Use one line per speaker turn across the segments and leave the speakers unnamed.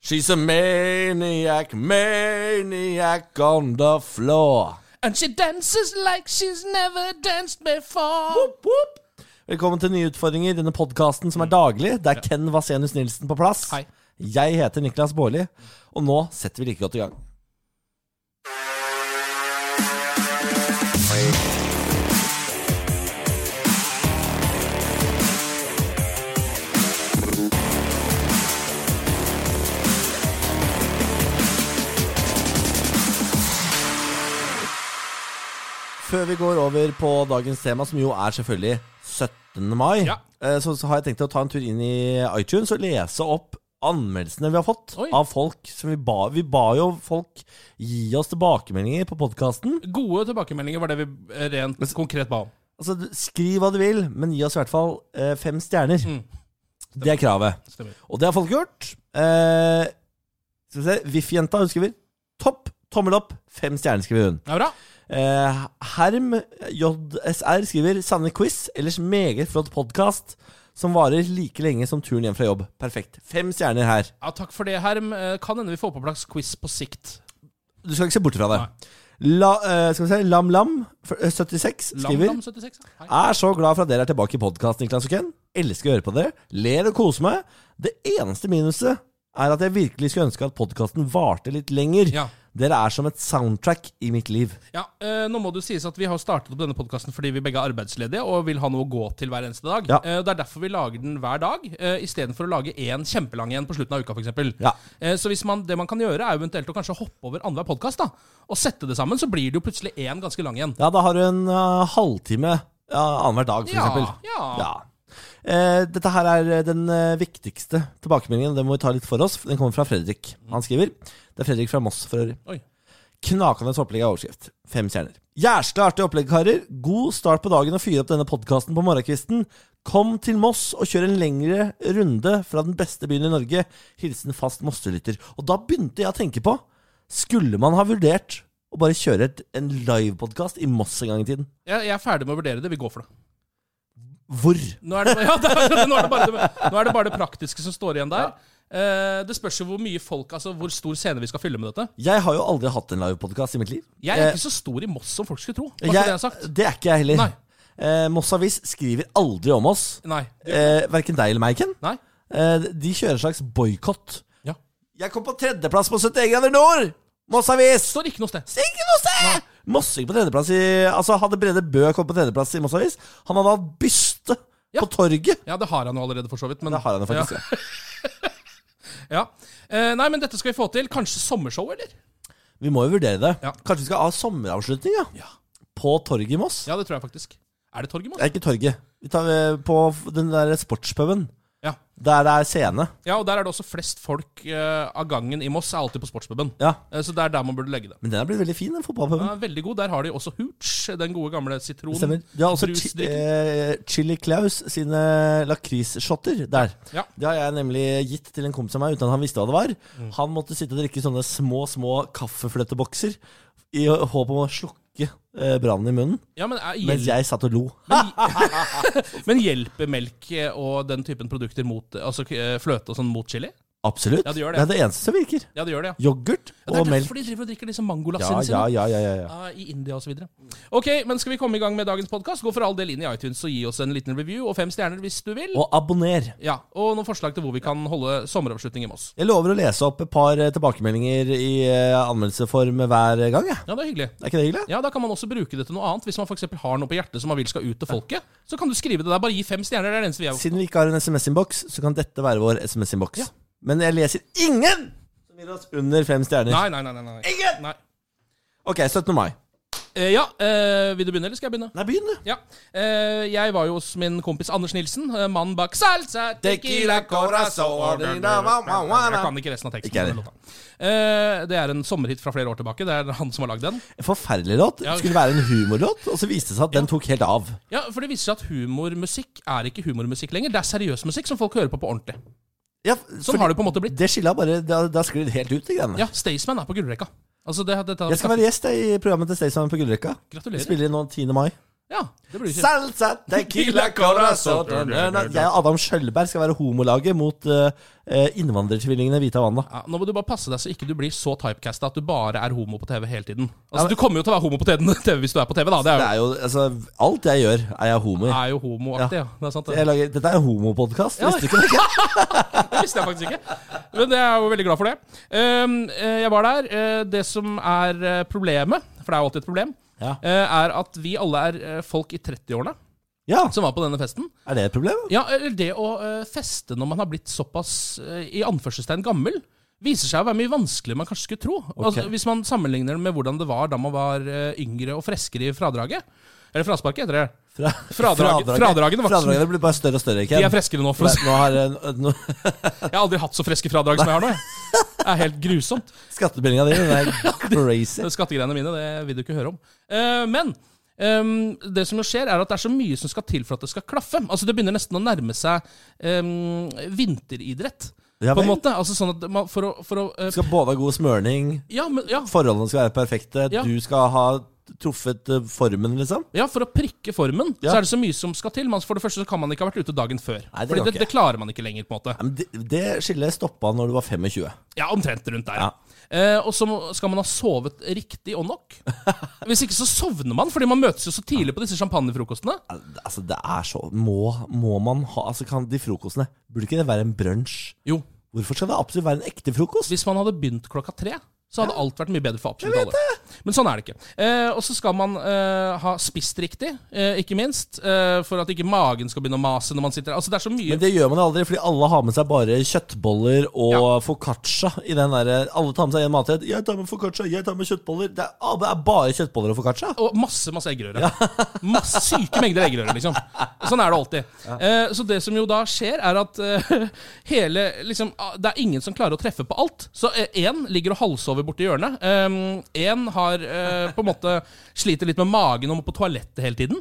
She's a maniac, maniac on the floor.
And she dances like she's never danced before.
Whoop, whoop. Velkommen til Nye utfordringer, denne podkasten som er daglig. Det er Ken Vasenus Nilsen på plass.
Hei.
Jeg heter Niklas Baarli, og nå setter vi like godt i gang. Før vi går over på dagens tema, som jo er selvfølgelig 17. mai,
Ja.
eh, så, så har jeg tenkt å ta en tur inn i iTunes og lese opp anmeldelsene vi har fått
Oi.
av folk. Som vi, ba, vi ba jo folk gi oss tilbakemeldinger på podkasten.
Gode tilbakemeldinger var det vi eh, rent konkret ba om.
Altså, du- skriv hva du vil, men gi oss i hvert fall eh, fem stjerner.
Mm.
Det er kravet.
Stemmer.
Og det har folk gjort. Eh, skal vi se, VIF-jenta hun skriver topp, tommel opp, fem stjerner, skriver hun.
Det er bra.
Eh, Herm JSR skriver Sanne quiz, ellers meget flott podkast som varer like lenge som turen hjem fra jobb. Perfekt. Fem stjerner her.
Ja, takk for det, Herm. Eh, Kan hende vi får på plass quiz på sikt.
Du skal ikke se bort fra det. La, eh, skal vi se, Lam Lam f- eh, 76 skriver
Lam Lam 76. ja. Hei.
Er så glad for at dere er tilbake i podkast, Niklas og Ken. Elsker å høre på dere. Ler og koser meg. Det eneste minuset er at jeg virkelig skulle ønske at podkasten varte litt lenger.
Ja.
Dere er som et soundtrack i mitt liv.
Ja, eh, nå må det jo sies at Vi har startet opp denne podkasten fordi vi begge er arbeidsledige og vil ha noe å gå til hver eneste dag.
Ja.
Eh, det er derfor vi lager den hver dag, eh, istedenfor å lage én kjempelang en på slutten av uka. For eksempel.
Ja.
Eh, så hvis man, det man kan gjøre, er jo eventuelt å kanskje hoppe over annenhver podkast og sette det sammen. Så blir det jo plutselig én ganske lang en.
Ja, da har du en eh, halvtime ja, annenhver dag, for
Ja,
eksempel.
ja.
Eh, dette her er den eh, viktigste tilbakemeldingen, og den må vi ta litt for oss. Den kommer fra Fredrik. Han skriver Det er Fredrik fra Moss for øvrig.
Oi.
Knakende opplegg av overskrift. Fem stjerner. Jæsla artig opplegg, karer. God start på dagen og fyre opp denne podkasten på morgenkvisten. Kom til Moss og kjør en lengre runde fra den beste byen i Norge. Hilsen fast Mosselytter. Og da begynte jeg å tenke på Skulle man ha vurdert å bare kjøre et, en livepodkast i Moss en gang i tiden?
Jeg, jeg er ferdig med å vurdere det. Vi går for det.
Hvor?
Nå er det, ja, det, er- nå er det, bare, det nå er det bare det praktiske som står igjen der. Eh, det spørs jo hvor mye folk, altså hvor stor scene vi skal fylle med dette.
Jeg har jo aldri hatt en livepodkast i mitt liv.
Jeg er
Eh,
ikke så stor i Moss som folk skulle tro. Var
jeg-
ikke det jeg har sagt?
det er ikke jeg heller.
Nei.
Eh, Moss Avis skriver aldri om oss.
Nei.
Eh, Verken deg eller meg, Ken.
Nei.
Eh, de kjører en slags boikott.
Ja.
Jeg kom på tredjeplass på 71 grader nord! Moss Avis!
Står ikke noe sted.
Ikke noe sted! Mossing på tredjeplass i Altså, hadde Brede Bø kommet på tredjeplass i Moss Avis, han hadde hatt byste
Ja.
på torget.
Ja, det har han jo allerede, for så vidt. Men,
Det har han jo faktisk.
Ja.
Ja.
Ja. Eh, nei, men dette skal vi få til. Kanskje sommershow, eller?
Vi må jo vurdere det.
Ja.
Kanskje vi skal ha sommeravslutning, ja?
Ja.
På torget i Moss?
Ja, det tror jeg faktisk. Er det torg i Moss?
Det er ikke torget. Vi tar eh, på f- den der sportspuben.
Ja.
Der det er scene.
ja, og der er det også flest folk eh, av gangen i Moss, er alltid på sportspuben.
Ja.
Eh, så det er der man burde legge det.
Men den er blitt veldig fin, den fotballpuben.
Den er veldig god. Der har de også Hooch, den gode gamle sitron...
Stemmer. De har også chi
brusdrikken.
eh, Chili Claus sine lakrisshotter der.
Ja.
Det har jeg nemlig gitt til en kompis av meg uten at han visste hva det var.
Mm.
Han måtte sitte og drikke sånne små, små kaffefløttebokser i håp om å slukke eh, brannen i munnen,
ja, men, er,
mens
hjel
jeg satt og lo.
men hjelper melk eh, og den typen produkter mot eh, Altså eh, fløte og sånn mot chili?
Absolutt.
Ja, det gjør det.
det er det eneste som virker.
Ja, det gjør det, ja.
Yoghurt
ja det er
og melk.
derfor de driver og drikker disse
Ja,
mangolassene sine.
ja, ja, ja, ja, ja.
Ja, eh, I India osv. Ok, men skal vi komme i gang med dagens podkast? Gå for all del inn i iTunes og gi oss en liten review og fem stjerner hvis du vil.
Og abonner.
Ja, Og noen forslag til hvor vi kan holde sommeravslutning i Moss.
Jeg lover å lese opp et par eh, tilbakemeldinger i eh, anmeldelseform hver gang. jeg.
Ja, det er hyggelig.
Er ikke det hyggelig?
Ja, Da kan man også bruke det til noe annet. Hvis man for eksempel har noe på hjertet som man vil skal ut til folket, så kan du skrive det der. Bare gi fem stjerner. Det er det eneste vi er
Siden vi ikke har en SMS-innboks, så kan dette være vår SMS-innboks.
Ja.
Men jeg leser ingen som gir oss under fem stjerner.
Nei, nei, nei. nei, nei.
Ingen!
nei.
Ok, 17. mai.
Eh, ja, eh, Vil du begynne, eller skal jeg begynne?
Nei, begynn, du.
Ja. Eh, jeg var jo hos min kompis Anders Nilsen, eh, mann bak salsa tequila corazón Jeg kan ikke resten av teksten.
Ikke jeg
på den låta. Eh, det er en sommerhit fra flere år tilbake. Det er han som har lagd den.
En Forferdelig låt.
Ja.
Skulle være en humorlåt, og så viste det seg at den tok helt av.
Ja, For det viser seg at humormusikk er ikke humormusikk lenger. Det er seriøs musikk som folk hører på på ordentlig.
Ja,
Sånn har det på en måte blitt.
Det skillet har bare Da, da sklir det helt ut, de greiene.
Ja, Staysman er på gullrekka. Altså, det, dette har vi
Jeg skal være gjest jeg, i programmet til Staysman på Gullrekka.
Gratulerer.
Vi spiller inn nå 10. mai.
snakket- Ja, det burde ikke
Salsa, tequila, corazón Jeg og Adam Skjølberg skal være homolaget mot eh, eh, innvandrertvillingene Vita Wanda.
ja, Nå må du bare passe deg så ikke du blir så typecasta at du bare er homo på TV hele tiden. Altså, Du kommer jo til å være homo på TV hvis du er på TV, da. Det
Det
er jo,
er jo, altså, alt jeg gjør, er jeg homo i.
er jo homoaktig, ja. Det er sant. Det
Jeg lager, dette er en homopodkast. Visste du ikke det?
Det visste jeg faktisk ikke. Men jeg er jo veldig glad for det. Ehm, eh, jeg var der. Eh, Det som er eh, problemet, for det er jo alltid et problem,
Ja.
eh, er at vi alle er eh, folk i 30-årene
ja.
som var på denne festen.
Er det et problem?
Ja, eller det å eh, feste når man har blitt såpass eh, i anførselstegn gammel, viser seg å være mye vanskeligere enn man kanskje skulle tro. Altså, hvis man sammenligner det med hvordan det var da man var eh, yngre og freskere i fradraget. Eller frasparket, heter det.
Fra,
Fradrag- fradragene var ikke så-
Fradragene blir bare større og større. Ken.
De er freskere nå. for å si.
Nei, Nå har eh, nå,
Jeg har aldri hatt så freske fradrag som jeg har nå. jeg. Det er helt grusomt.
Skattebillingen din den er crazy.
Skattegreiene mine det vil du ikke høre om. Eh, men ehm, det som jo skjer, er at det er så mye som skal til for at det skal klaffe. Altså Det begynner nesten å nærme seg ehm, vinteridrett.
Ja,
på en
vel.
måte. Altså sånn at man, For å, for å eh,
Du skal både ha god smørning,
ja, men, ja,
forholdene skal være perfekte,
Ja.
du skal ha truffet eh, formen, liksom.
Ja, for å prikke formen
Ja.
så er det så mye som skal til. Man, for det første så kan man ikke ha vært ute dagen før.
Nei, det
Fordi
går
det,
ikke.
det klarer man ikke lenger, på en måte.
Ja, men det, det skillet stoppa når du var 25.
Ja, omtrent rundt der.
Ja.
Eh, og så må- skal man ha sovet riktig og nok. Hvis ikke så sovner man, fordi man møtes jo så tidlig på disse champagnefrokostene.
Al- Altså, det er så Må, må man ha Altså, kan de frokostene Burde ikke det være en brunsj?
Jo,
Hvorfor skal det absolutt være en ekte frokost?
hvis man hadde begynt klokka tre, så hadde alt vært mye bedre for absolutt alle. Men sånn er det ikke. Eh, og så skal man eh, ha spist riktig, eh, ikke minst. Eh, for at ikke magen skal begynne å mase når man sitter der. Altså, det er så mye
Men det gjør man jo aldri, fordi alle har med seg bare kjøttboller og
Ja.
foccaccia. I den derre Alle tar med seg en matrett. 'Jeg tar med foccaccia, jeg tar med kjøttboller.' Det er, ah, det er bare kjøttboller og foccaccia.
Og masse, masse eggerøre. Masse syke mengder eggerøre, liksom. Sånn er det alltid. Eh, så det som jo da skjer, er at eh, hele liksom, ah, Det er ingen som klarer å treffe på alt. Så én ligger og halvsover borti hjørnet. Én har eh, på en måte sliter litt med magen og må på toalettet hele tiden.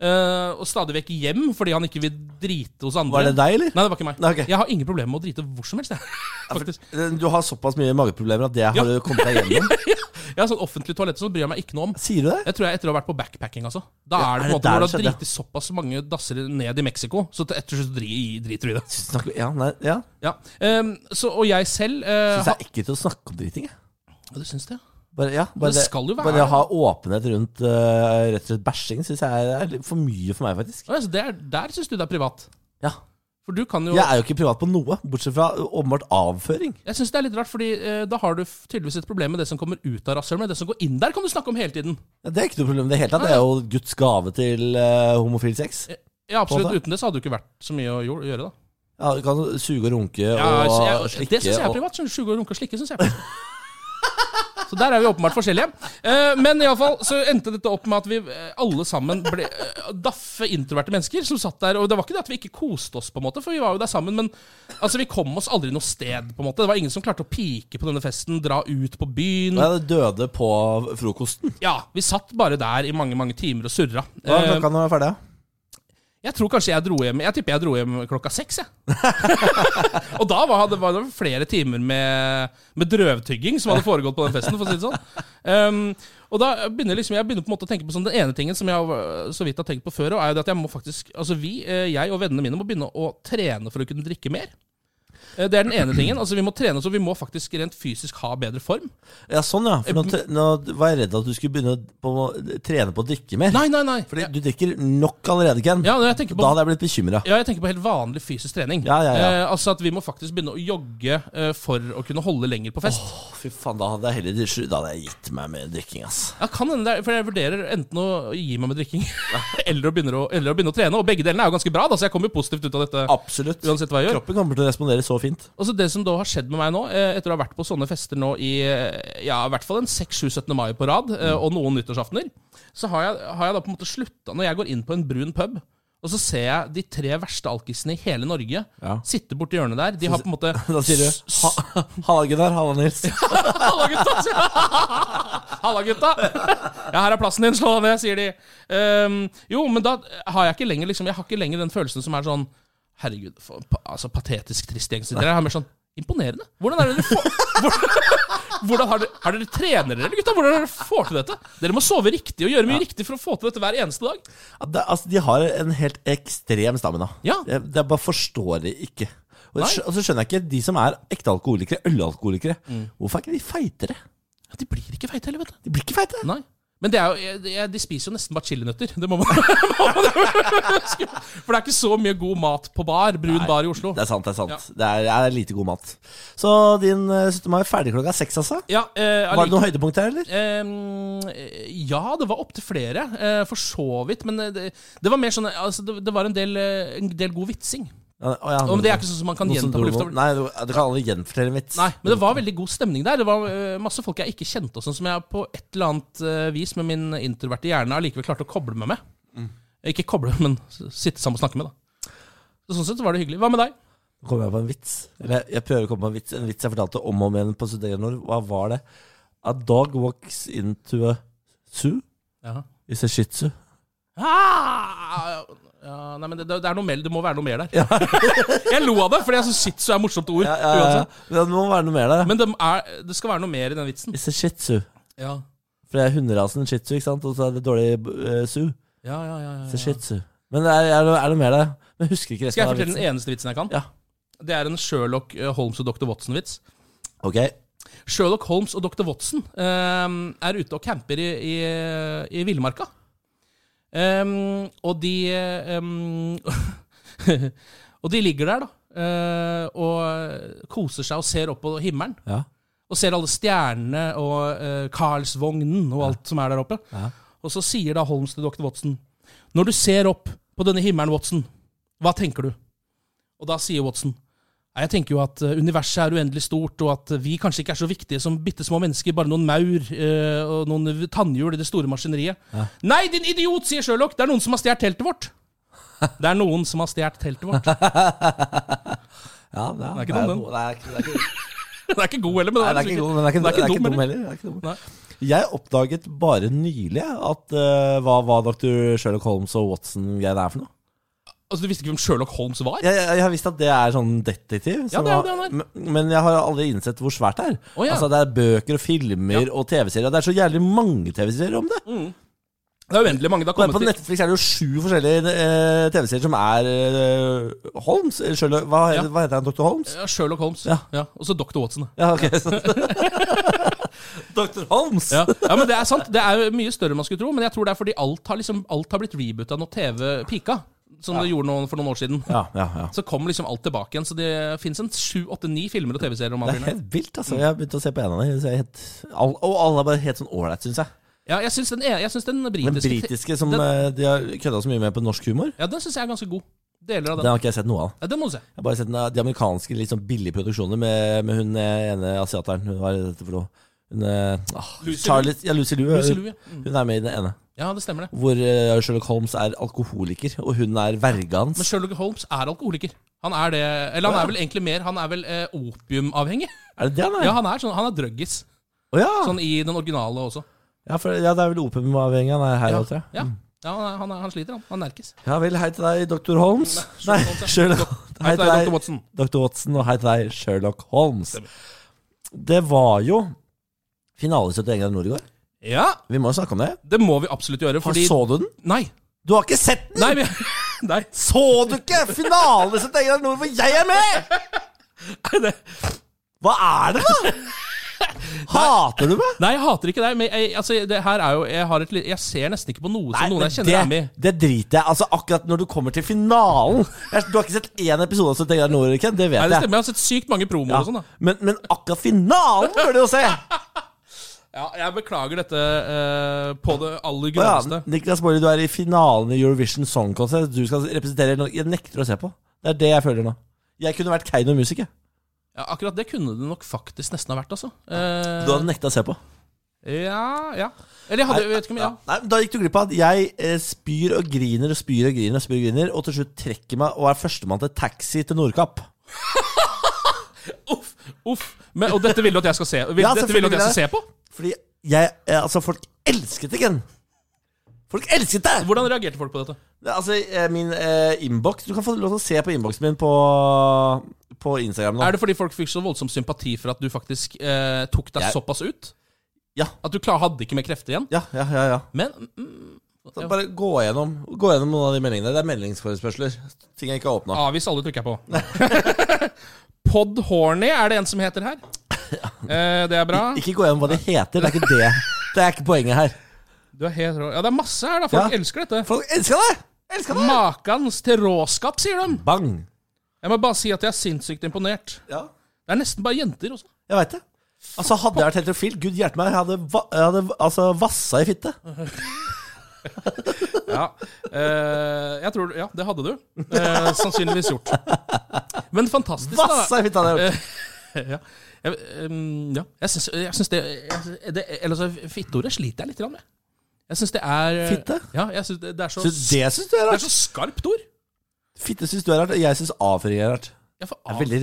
Eh, og stadig vekk hjem fordi han ikke vil drite hos andre.
Var det deg, eller?
Nei, det var ikke meg.
Nei, ok.
Jeg har ingen problemer med å drite hvor som helst. Jeg. Faktisk.
Du har såpass mye mageproblemer at det har du kommet deg gjennom.
Jeg har sånn offentlig toalett som bryr jeg meg ikke noe om.
Sier du det?
Jeg tror jeg etter å ha vært på backpacking, altså. Da
Ja, er
er det på en
det
måte
der det
Når du har
skjedde?
driti såpass mange dasser ned i Mexico, så til etter så dri- driter du i det.
Snakker, ja, nei, ja.
Ja. Ehm, så, og jeg selv uh,
Syns det er ekkelt å snakke om driting. jeg.
ha, Du syns det? ja?
Bare, ja, bare,
det skal jo være
bare
det.
å ha åpenhet rundt eh, rett og slett bæsjing syns jeg er litt for mye for meg, faktisk.
Altså, det er, der syns du det er privat.
Ja.
For du kan jo
Jeg er jo ikke privat på noe, bortsett fra åpenbart avføring.
Jeg syns det er litt rart, Fordi eh, da har du f- tydeligvis et problem med det som kommer ut av rasshølet. Men det som går inn der, kan du snakke om hele tiden.
Ja, det er ikke noe problem i det hele tatt. Det er jo Guds gave til eh, homofil sex.
Ja, absolutt.
På det?
Uten det så hadde du ikke vært så mye å gjøre, da.
Ja, du kan suge og runke
Ja,
og
så jeg,
slikke.
det syns jeg er
og-
privat. Skjønner du, Suge og runke og slikke syns jeg er privat. Så der er vi åpenbart forskjellige. Eh, Men iallfall så endte dette opp med at vi eh, alle sammen ble eh, daffe introverte mennesker som satt der. Og det var ikke det at vi ikke koste oss, på en måte, for vi var jo der sammen. Men altså, vi kom oss aldri noe sted, på en måte. Det var ingen som klarte å pike på denne festen, dra ut på byen.
Nei, det døde på frokosten.
Ja, vi satt bare der i mange, mange timer og surra.
Hva er
Eh,
klokka når du er ferdig? da?
Jeg tror kanskje jeg dro hjem Jeg tipper jeg dro hjem klokka seks, jeg. og da var det, var det flere timer med, med drøvtygging som hadde foregått på den festen, for å si det sånn. Ehm, og da begynner liksom, jeg begynner på en måte å tenke på sånn, den ene tingen som jeg har- så vidt har tenkt på før, og er jo det at jeg må faktisk Altså vi, eh, jeg og vennene mine, må begynne å trene for å kunne drikke mer. Eh, Det er den ene tingen. altså Vi må trene, så vi må faktisk rent fysisk ha bedre form.
Ja, sånn ja. For nå,
Eh,
tre- nå var jeg redd at du skulle begynne å- på, å trene på å drikke mer.
Nei, nei, nei.
Fordi du drikker nok allerede, Ken.
Ja, når jeg tenker på
Da hadde jeg blitt bekymra.
Ja, jeg tenker på helt vanlig fysisk trening.
Ja, ja, ja.
Eh, altså at vi må faktisk begynne å jogge eh, for å kunne holde lenger på fest.
Fy faen, da hadde jeg heller da hadde jeg gitt meg med drikking, ass.
Ja, kan hende det er, For jeg vurderer enten å gi meg med drikking eller, å begynne å, eller å begynne å trene. Og begge delene er jo ganske bra, da, så jeg kommer jo positivt ut av dette.
Absolutt.
Uansett hva jeg gjør.
Kroppen kommer til å respondere så fint.
Og så Det som da har skjedd med meg nå, eh, etter å ha vært på sånne fester nå i eh, ja, i hvert fall en 6-7-17. mai på rad, eh,
Mm.
og noen nyttårsaftener, så har jeg, har jeg da på en måte slutta Når jeg går inn på en brun pub, og så ser jeg de tre verste alkisene i hele Norge
Ja.
sitte borti hjørnet der. De har på en måte
Da sier du ha, Halla, Gunnar. Halla, Nils.
Halla, gutta! sier jeg. Halla, gutta! Ja, her er plassen din, slå deg ned, sier de. Ehm, jo, men da har jeg ikke lenger liksom, Jeg har ikke lenger den følelsen som er sånn Herregud, for, pa, altså patetisk trist gjeng sitter her. Jeg har mer sånn Imponerende. Hvordan er det dere får, hvordan, Hvordan har dere, har dere trenere, dere, gutta? Hvordan har dere får til dette? Dere må sove riktig og gjøre mye riktig for å få til dette hver eneste dag.
Ja, det, altså, de har en helt ekstrem stamina.
Ja.
Jeg, jeg bare forstår det ikke. Og,
Nei.
skj- og så skjønner jeg ikke de som er ekte alkoholikere, ølalkoholikere.
Mm.
Hvorfor er ikke de feitere?
Ja, de blir ikke feite heller, vet du.
De blir ikke feitere.
Nei. Men det er jo, jeg- jeg- de spiser jo nesten bare chilinøtter. Det må man, må man huske. For det er ikke så mye god mat på bar, brun bar i Oslo.
Det er sant, det er sant.
Ja.
Det er, er lite god mat. Så din eh, 17. mai er ferdig klokka seks, altså?
Ja, eh,
Var det noe høydepunkt her, eller?
Ehm, eh, ja, det var opptil flere, eh, for så vidt. Men eh, det, det var mer sånn eh, altså, det, det var en del, eh, en del god vitsing.
Ja, å, ja,
Og men det er ikke sånn som man kan
noe som
gjenta på
dro
lufta.
noe- Nei, du, du kan aldri gjenfortelle en vits.
Nei, men det var veldig god stemning der. Det var eh, masse folk jeg ikke kjente, og sånn som jeg på et eller annet eh, vis med min introverte hjerne allikevel klarte å koble meg med.
Mm.
Ikke koble, men s- sitte sammen og snakke med, da. Så Sånn sett var det hyggelig. Hva med deg?
Nå kommer jeg på en vits. Eller jeg prøver å komme på en vits. En vits jeg fortalte om og om igjen på studenterår. Hva var det? A dog walks into a zoo
Ja.
is a shih tzu.
Ah! Ja, nei, men det, det er noe mer, det må være noe mer der. jeg lo av det, fordi jeg syns shit så er morsomt ord.
Ja, ja, ja.
uansett.
Men Det må være noe mer der. Men,
Men det, er, det skal være noe mer i den vitsen.
is a shih tzu.
Ja,
For det er hunderasen shih tzu, ikke sant? Og så er det dårlig eh, zoo.
ja, ja, ja,
It's a shih tzu. Men det er, er, det- er det noe mer der. Men jeg husker ikke resten
Skal jeg
av
fortelle
vitsen.
den eneste vitsen jeg kan?
Ja.
Det er en Sherlock eh, Holmes og Dr. Watson-vits.
Ok.
Sherlock Holmes og Dr. Watson ehm, er ute og camper i, i, i villmarka. Ehm, og de ehm, Og de ligger der, da. eh, og koser seg og ser opp på himmelen.
Ja.
Og ser alle stjernene og eh, Karlsvognen og alt som er der oppe.
Ja.
Og så sier da Holmes til dr. Watson Når du ser opp på denne himmelen, Watson, hva tenker du? Og da sier Watson Nei, jeg tenker jo at eh, universet er uendelig stort, og at vi kanskje ikke er så viktige som bitte små mennesker, bare noen maur eh, og noen tannhjul i det store maskineriet. Nei, din idiot, sier Sherlock, det er noen som har stjålet teltet vårt. Det er noen som har stjålet teltet vårt.
ja det, er,
ikke dum, den.
Det er, det er, ikke-
Det er ikke god heller, men
Nei, det er ikke god, men det er ikke, det er ikke
dum,
dum
heller.
heller. Det er ikke dum.
Nei.
Jeg oppdaget bare nylig at eh, hva, hva dr. Sherlock Holmes og Watson-greiene er for noe.
Altså, Du visste ikke hvem Sherlock Holmes var?
Jeg, jeg, jeg har visst at det er sånn detektiv. som
det er jo det
har-
han
men, men jeg har aldri innsett hvor svært det er.
Å, ja.
Altså Det er bøker og filmer og TV-serier. og Det er så jævlig mange TV-serier om det.
Det er uendelig mange Mm, det
Bare
har kommet
på
til.
Netflix er det jo sju forskjellige eh, TV-serier som er eh, Holmes. eller Sherlock, hva,
Ja.
hva heter han? Dr. Holmes?
Ja, Sherlock Holmes.
Ja.
Ja. Og så Dr. Watson. da.
Ja, ok. Dr. Holmes!
Ja. ja, men Det er sant. Det er jo mye større enn man skulle tro, men jeg tror det er fordi alt har, liksom, alt har blitt rebootet når TV pika, som det gjorde nå for noen år siden.
Ja, ja, ja.
Så kom liksom alt tilbake igjen. Så det fins en sju, åtte, ni filmer og TV-serier om
Det er
han fyren.
helt vilt, altså. Jeg har begynt å se på en av dem. så jeg er helt- all- Og alle er bare helt sånn ålreit, syns jeg.
Ja, jeg syns den, er- jeg syns den
Den
britiske,
britiske som
den,
eh, de har kødda så mye med på norsk humor,
Ja, den syns jeg er ganske god. Deler
den
av den.
har ikke jeg sett noe av.
Ja, den må du se.
Jeg har bare sett den, av de amerikanske litt sånn billige produksjoner med, med hun eh, ene asiateren. Hun var dette for noe. Hun, eh, ah,
Lucy
Charlie, ja, Lucy Liu.
Lucy
hun,
Liu, ja. Mm.
hun er med i den ene.
Ja, det stemmer det.
Hvor eh, Sherlock Holmes er alkoholiker, og hun er verga
Men
hans.
Sherlock Holmes er alkoholiker. Han er det Eller han er vel egentlig mer Han er vel eh, opiumavhengig.
Er det det han er?
Ja, han er sånn Han er druggis.
Å ja.
Sånn i den originale også.
Ja, for, ja, det er vel opiumavhengig han er her,
Ja.
tror jeg. Mm.
Ja, ja han, er- han, er- han sliter, han. Han nerkes.
Ja vel, hei til deg, dr. Holmes. Nei,
Sherlock Holmes,
Sherlock.
ja. Hei til deg, Dr. Watson.
Dr. Watson, og hei til deg, Sherlock Holmes. Det var jo finale 71 grader nord i går.
Ja,
Vi må jo snakke om det.
det må vi absolutt gjøre,
Har
fordi
Så du den?
Nei.
Du har ikke sett den?
Nei, vi... Nei.
Så du ikke finale som tenker deg nord hvor jeg er med?!
det-
Hva er det, da?! Hater du meg?
Nei, jeg hater ikke deg, men jeg, altså, det her er jo Jeg, har et, li- jeg ser nesten ikke på noe som noen jeg kjenner er
det,
med i.
det driter jeg Altså Akkurat når du kommer til finalen jeg, Du har ikke sett én episode av 71 grader nord, Ken. Det
Nei,
vet
det
jeg.
stemmer. Jeg har sett sykt mange promoer
Ja.
og sånn, da.
Men, men akkurat finalen bør du jo se!
Ja, jeg beklager dette eh, på det aller
Å Ja,
groveste.
Niklas Baarli, du er i finalen i Eurovision Song Contest. Du skal representere Norge. Jeg nekter å se på. Det er det jeg føler nå. Jeg kunne vært Keiino Music. jeg.
Ja, akkurat det kunne det nok faktisk nesten ha vært, altså. Eh,
Du hadde nekta å se på.
ja, ja. Eller jeg hadde jeg vet ikke om, ja.
Ja. Nei, men Da gikk du glipp av at jeg eh, spyr og griner og spyr og griner og spyr og griner, og til slutt trekker meg og er førstemann til taxi til Nordkapp.
Uff, uff. Men, og dette vil du at jeg skal se, vil,
Ja,
dette vil du at jeg
selvfølgelig
skal se på?
Fordi jeg eh, Altså, folk elsket det, Ken. Folk elsket det!
Hvordan reagerte folk på dette?
Det er Altså, eh, min eh, innboks Du kan få lov til å se på innboksen min på, på Instagram nå.
Er det fordi folk fikk så voldsom sympati for at du faktisk eh, tok deg
Jeg-
såpass ut?
Ja.
At du klar, hadde ikke mer krefter igjen?
Ja, ja, ja. ja.
Men mm,
Så
ja.
bare gå gjennom, gå gjennom noen av de meldingene. Det er meldingsforespørsler. Ting jeg ikke har åpna.
avvis alle trykker jeg på. Pod Horny er det en som heter her. Eh, det er bra.
Ikke gå gjennom hva de heter. Det er ikke det. Det er ikke poenget her.
Du er helt rå. Ja, det er masse her, da. Folk
Ja.
elsker dette.
Folk elsker det! Elsker det!
Makans til råskap, sier de.
Bang!
Jeg må bare si at jeg er sinnssykt imponert.
Ja,
Det er nesten bare jenter også.
jeg veit det. Altså, hadde jeg vært heterofil, gud hjelpe meg, jeg hadde, va jeg hadde altså, vassa i fitte.
Ja, eh, jeg tror, ja det hadde du. Eh, sannsynligvis gjort. Men fantastisk, da.
Vassa i fitte hadde jeg gjort.
ja. Jeg, ehm, ja. jeg syns, jeg syns det, jeg, syns- det Ellers er fitteordet sliter jeg litt grann med. Jeg syns det er
Fitte?
Ja, jeg syns det, det, er så,
Så
det
det syns du er
er
rart?
så skarpt ord.
Fitte syns du er rart, og jeg syns avføring er rart.
Jeg får
Det er en
av-
veldig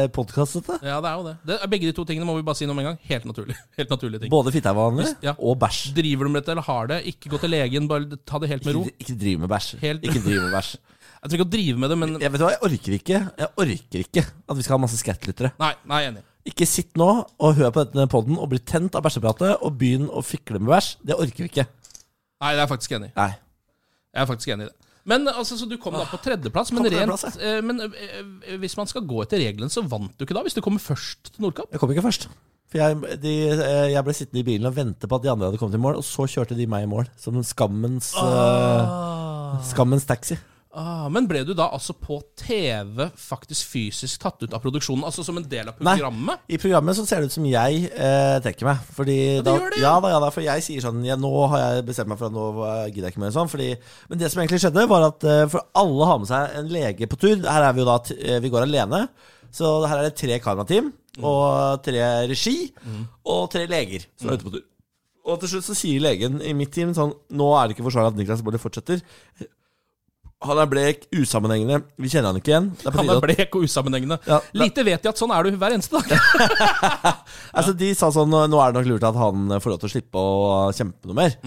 rar podkast, dette.
Ja, det er jo det. det er, begge de to tingene må vi bare si noe med en gang. Helt naturlig. Helt naturlige ting.
Både fitte er vanlig,
Ja.
og bæsj.
Driver du med dette eller har det, ikke gå til legen, bare ta det helt med ro.
Ikke, ikke driv med bæsj.
Helt-
Ikke driv med bæsj.
Jeg trenger ikke å drive med det, men
Jeg vet du hva, jeg orker ikke Jeg orker ikke at vi skal ha masse skattlyttere.
Nei, nei, jeg er enig.
Ikke sitt nå og hør på denne poden og bli tent av bæsjepratet og begynn å fikle med bæsj. Det orker vi ikke.
Nei, jeg er faktisk enig.
Nei.
Jeg er faktisk enig i det. Men altså, Så du kom da på tredjeplass. Men,
Kom på
rent,
tredjeplass,
eh, men eh, hvis man skal gå etter reglene, så vant du ikke da? Hvis du kommer først til Nordkapp?
Jeg kom ikke først. For jeg, de, eh, jeg ble sittende i bilen og vente på at de andre hadde kommet i mål, og så kjørte de meg i mål. Som en skammens eh, Skammens taxi.
Ah, men ble du da altså på TV faktisk fysisk tatt ut av produksjonen? Altså som en del av
Nei.
programmet?
I programmet så ser det ut som jeg eh, trekker meg. Fordi da,
gjør det,
ja.
ja.
da, ja da, for jeg sier sånn ja, Nå har jeg bestemt meg for at nå eh, gidder jeg ikke mer sånn. Fordi, men det som egentlig skjedde, var at eh, for alle har med seg en lege på tur. Her er vi jo da t eh, Vi går alene. Så her er det tre kamerateam,
Mm.
og tre regi, og tre leger som
Mm.
er ute på tur. Og til slutt så sier legen i mitt team sånn Nå er det ikke forsvarlig at Niklas Baarli fortsetter. Han er blek, usammenhengende. Vi kjenner han ikke igjen. Det er på
Han
tide
er
at
blek og usammenhengende.
Ja, da-
Lite vet de at sånn er du hver eneste dag.
Altså De sa sånn Nå er det nok lurt at han får lov til å slippe å kjempe noe mer.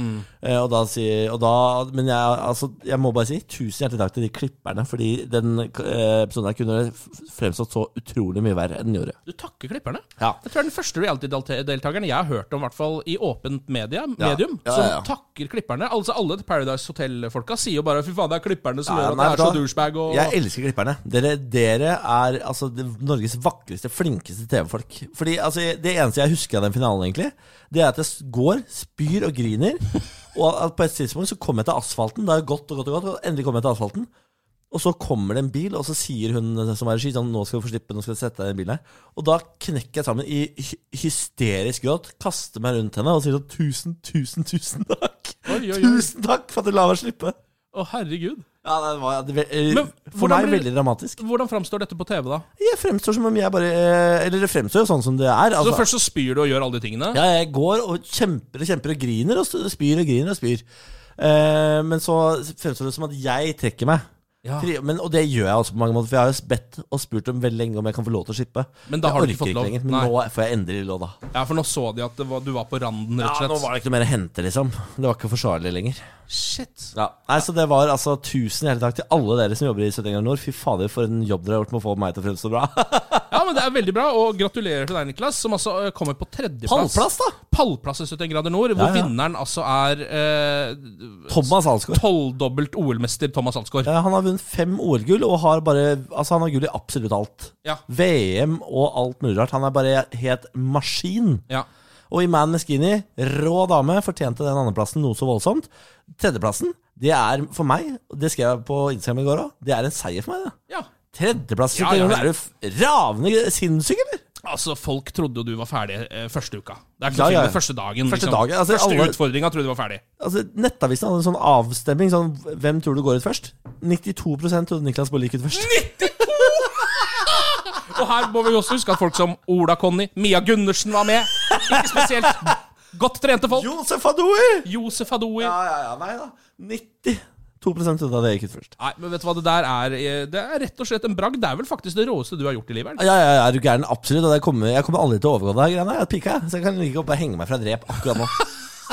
Eh, og da sier og da, Men jeg, altså, jeg må bare si tusen hjertelig takk til de klipperne, fordi den eh, episoden her kunne f- fremstått så utrolig mye verre enn den gjorde.
Du takker klipperne.
Ja.
Jeg tror det er den første reality-deltakeren jeg har hørt om, i hvert fall i åpent media,
Ja.
medium,
Ja, ja, ja.
som takker klipperne. Altså Alle Paradise Hotel-folka sier jo bare 'fy faen, det er klipperne som gjør at
nei,
det er så
vet du hva?
douchebag' og
Jeg elsker klipperne. Dere, dere er altså det, Norges vakreste, flinkeste TV-folk. Fordi altså, jeg- Det eneste jeg husker av den finalen, egentlig, det er at jeg s- går, spyr og griner. Og at på et tidspunkt så kommer jeg til asfalten. Det er godt og godt og godt. Og endelig kommer jeg til asfalten. Og så kommer det en bil, og så sier hun som er regi sånn, nå skal du få slippe, nå skal du sette deg i den bilen her. Og da knekker jeg sammen i hy- hysterisk gråt, kaster meg rundt henne og sier sånn tusen, tusen, tusen takk.
Oi, oi, oi.
Tusen takk for at du la meg slippe.
Å, herregud.
Ja, det var, det, eh,
Men
for
hvordan
meg
blir-
veldig dramatisk.
Hvordan framstår dette på TV, da?
Jeg fremstår som om jeg bare eh, Eller det fremstår jo sånn som det er.
Så
Altså,
Først så spyr du og gjør alle de tingene.
ja, jeg går og kjemper og kjemper og griner og st- spyr og griner og spyr. Eh, men så fremstår det som at jeg trekker meg.
Ja.
Tri- Men, og det gjør jeg også på mange måter, for jeg har jo bedt og spurt dem veldig lenge om jeg kan få lov til å slippe.
Men da har
jeg
du ikke fått lov.
lenger, men
Nei.
nå får jeg endelig lov, da.
Ja, for nå så de at det var, du var på randen,
Ja,
rett og slett.
nå var det ikke noe mer å hente, liksom. Det var ikke forsvarlig lenger.
Shit.
Nei, Så det var altså tusen hjertelig takk til alle dere som jobber i 71 grader nord. Fy fader, for en jobb dere har gjort med å få meg til å fremstå bra.
Ja, men det er veldig bra, og gratulerer til deg, Niklas, som altså eh, kommer på tredjeplass.
Pallplass, da!
Pallplass i 71 grader nord, hvor
Ja, ja.
vinneren altså er eh,
Thomas Alsgaard.
tolvdobbelt OL-mester Thomas Alsgaard. Ja.
Ja, Han har vunnet fem OL-gull og har bare Altså, han har gull i absolutt alt.
Ja.
VM og alt mulig rart. Han er bare helt maskin. Og i Man med skinny, rå dame, fortjente den andreplassen noe så voldsomt. Tredjeplassen, det er for meg, og det skrev jeg på Instagram i går òg, det er en seier for meg, det.
Ja.
Tredjeplass?
Ja, ja, ja.
Er du f- ravende sinnssyk, eller?
Altså, folk trodde jo du var ferdig eh, første uka. Det er ikke
Ja,
noe tvil
ja.
om det. Første dagen. liksom.
Første dagen, altså,
første
alle-
utfordringa trodde du var ferdig.
Altså, Nettavisen hadde en sånn avstemning sånn Hvem tror du går ut først? 92 trodde Niklas Baarli gikk ut først.
Og her må vi også huske at folk som Ola Conny, Mia Gundersen var med. Ikke spesielt godt trente folk.
Josef Adoui!
Josef Adoui.
Ja, ja, ja. Nei da. 92 trodde at det gikk ut først.
Nei, men vet du hva det der er? eh, Det er rett og slett en bragd. Det er vel faktisk det råeste du har gjort i livet? er det?
Ja, ja, ja, er du gæren? Absolutt. Og jeg kommer, jeg kommer aldri til å overgå deg. Greiene. Jeg har pika, jeg. så jeg kan like godt bare henge meg fra et rep akkurat nå.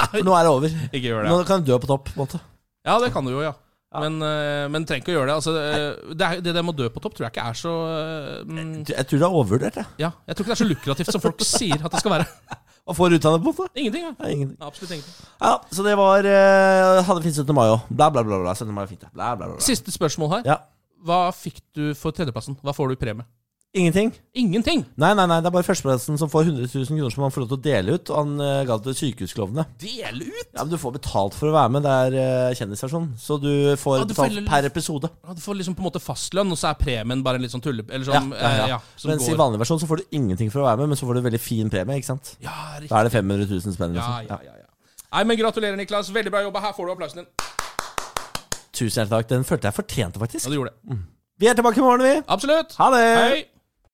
For nå er det over.
Ikke gjør det.
Nå kan jeg dø på topp. på en måte
Ja, det kan du jo, ja. Men, eh, men trenger ikke å gjøre det. Altså, eh, det, er, det der med å dø på topp tror jeg ikke er så eh, mm,
Jeg tror det er overvurdert, jeg.
Ja, jeg tror ikke det er så lukrativt som folk sier at det skal være.
Hva får du ut av det, på en måte?
Ingenting. Ja.
Nei, ingenting.
Absolutt ingenting.
Ja, så det var eh, Hadde fint 17. mai òg. Bla, bla, bla. bla. 17. mai er fint, det. Bla, bla, bla. bla.
Siste spørsmål her.
Ja.
Hva fikk du for tredjeplassen? Hva får du i premie?
Ingenting?
Ingenting!
Nei, nei, nei, det er bare førsteplassen som får 100 000 kroner som han får lov til å dele ut. Og han eh, ga det til sykehusklovnene.
Del ut!
Ja, men du får betalt for å være med. Det er eh, kjendisversjon. Så du får
Ja, du får
betalt
heller-
per episode.
Ja, Du får liksom på en måte fastlønn, og så er premien bare en litt sånn tulle... Eller sånn,
Ja, ja, ja.
eh, ja, som
Mens i
går.
vanlig versjon så får du ingenting for å være med, men så får du veldig fin premie, ikke sant?
Ja, riktig.
Da er det 500 000 spenn.
Ja,
Liksom.
ja, ja, ja. Nei, men Gratulerer, Niklas. Veldig bra jobba. Her får du applausen din.
Tusen hjertelig takk. Den følte jeg fortjente,
Ja,
faktisk.
du gjorde det.
Vi er tilbake i morgen, vi.
Absolutt.
Mm. Ha det!
Hei.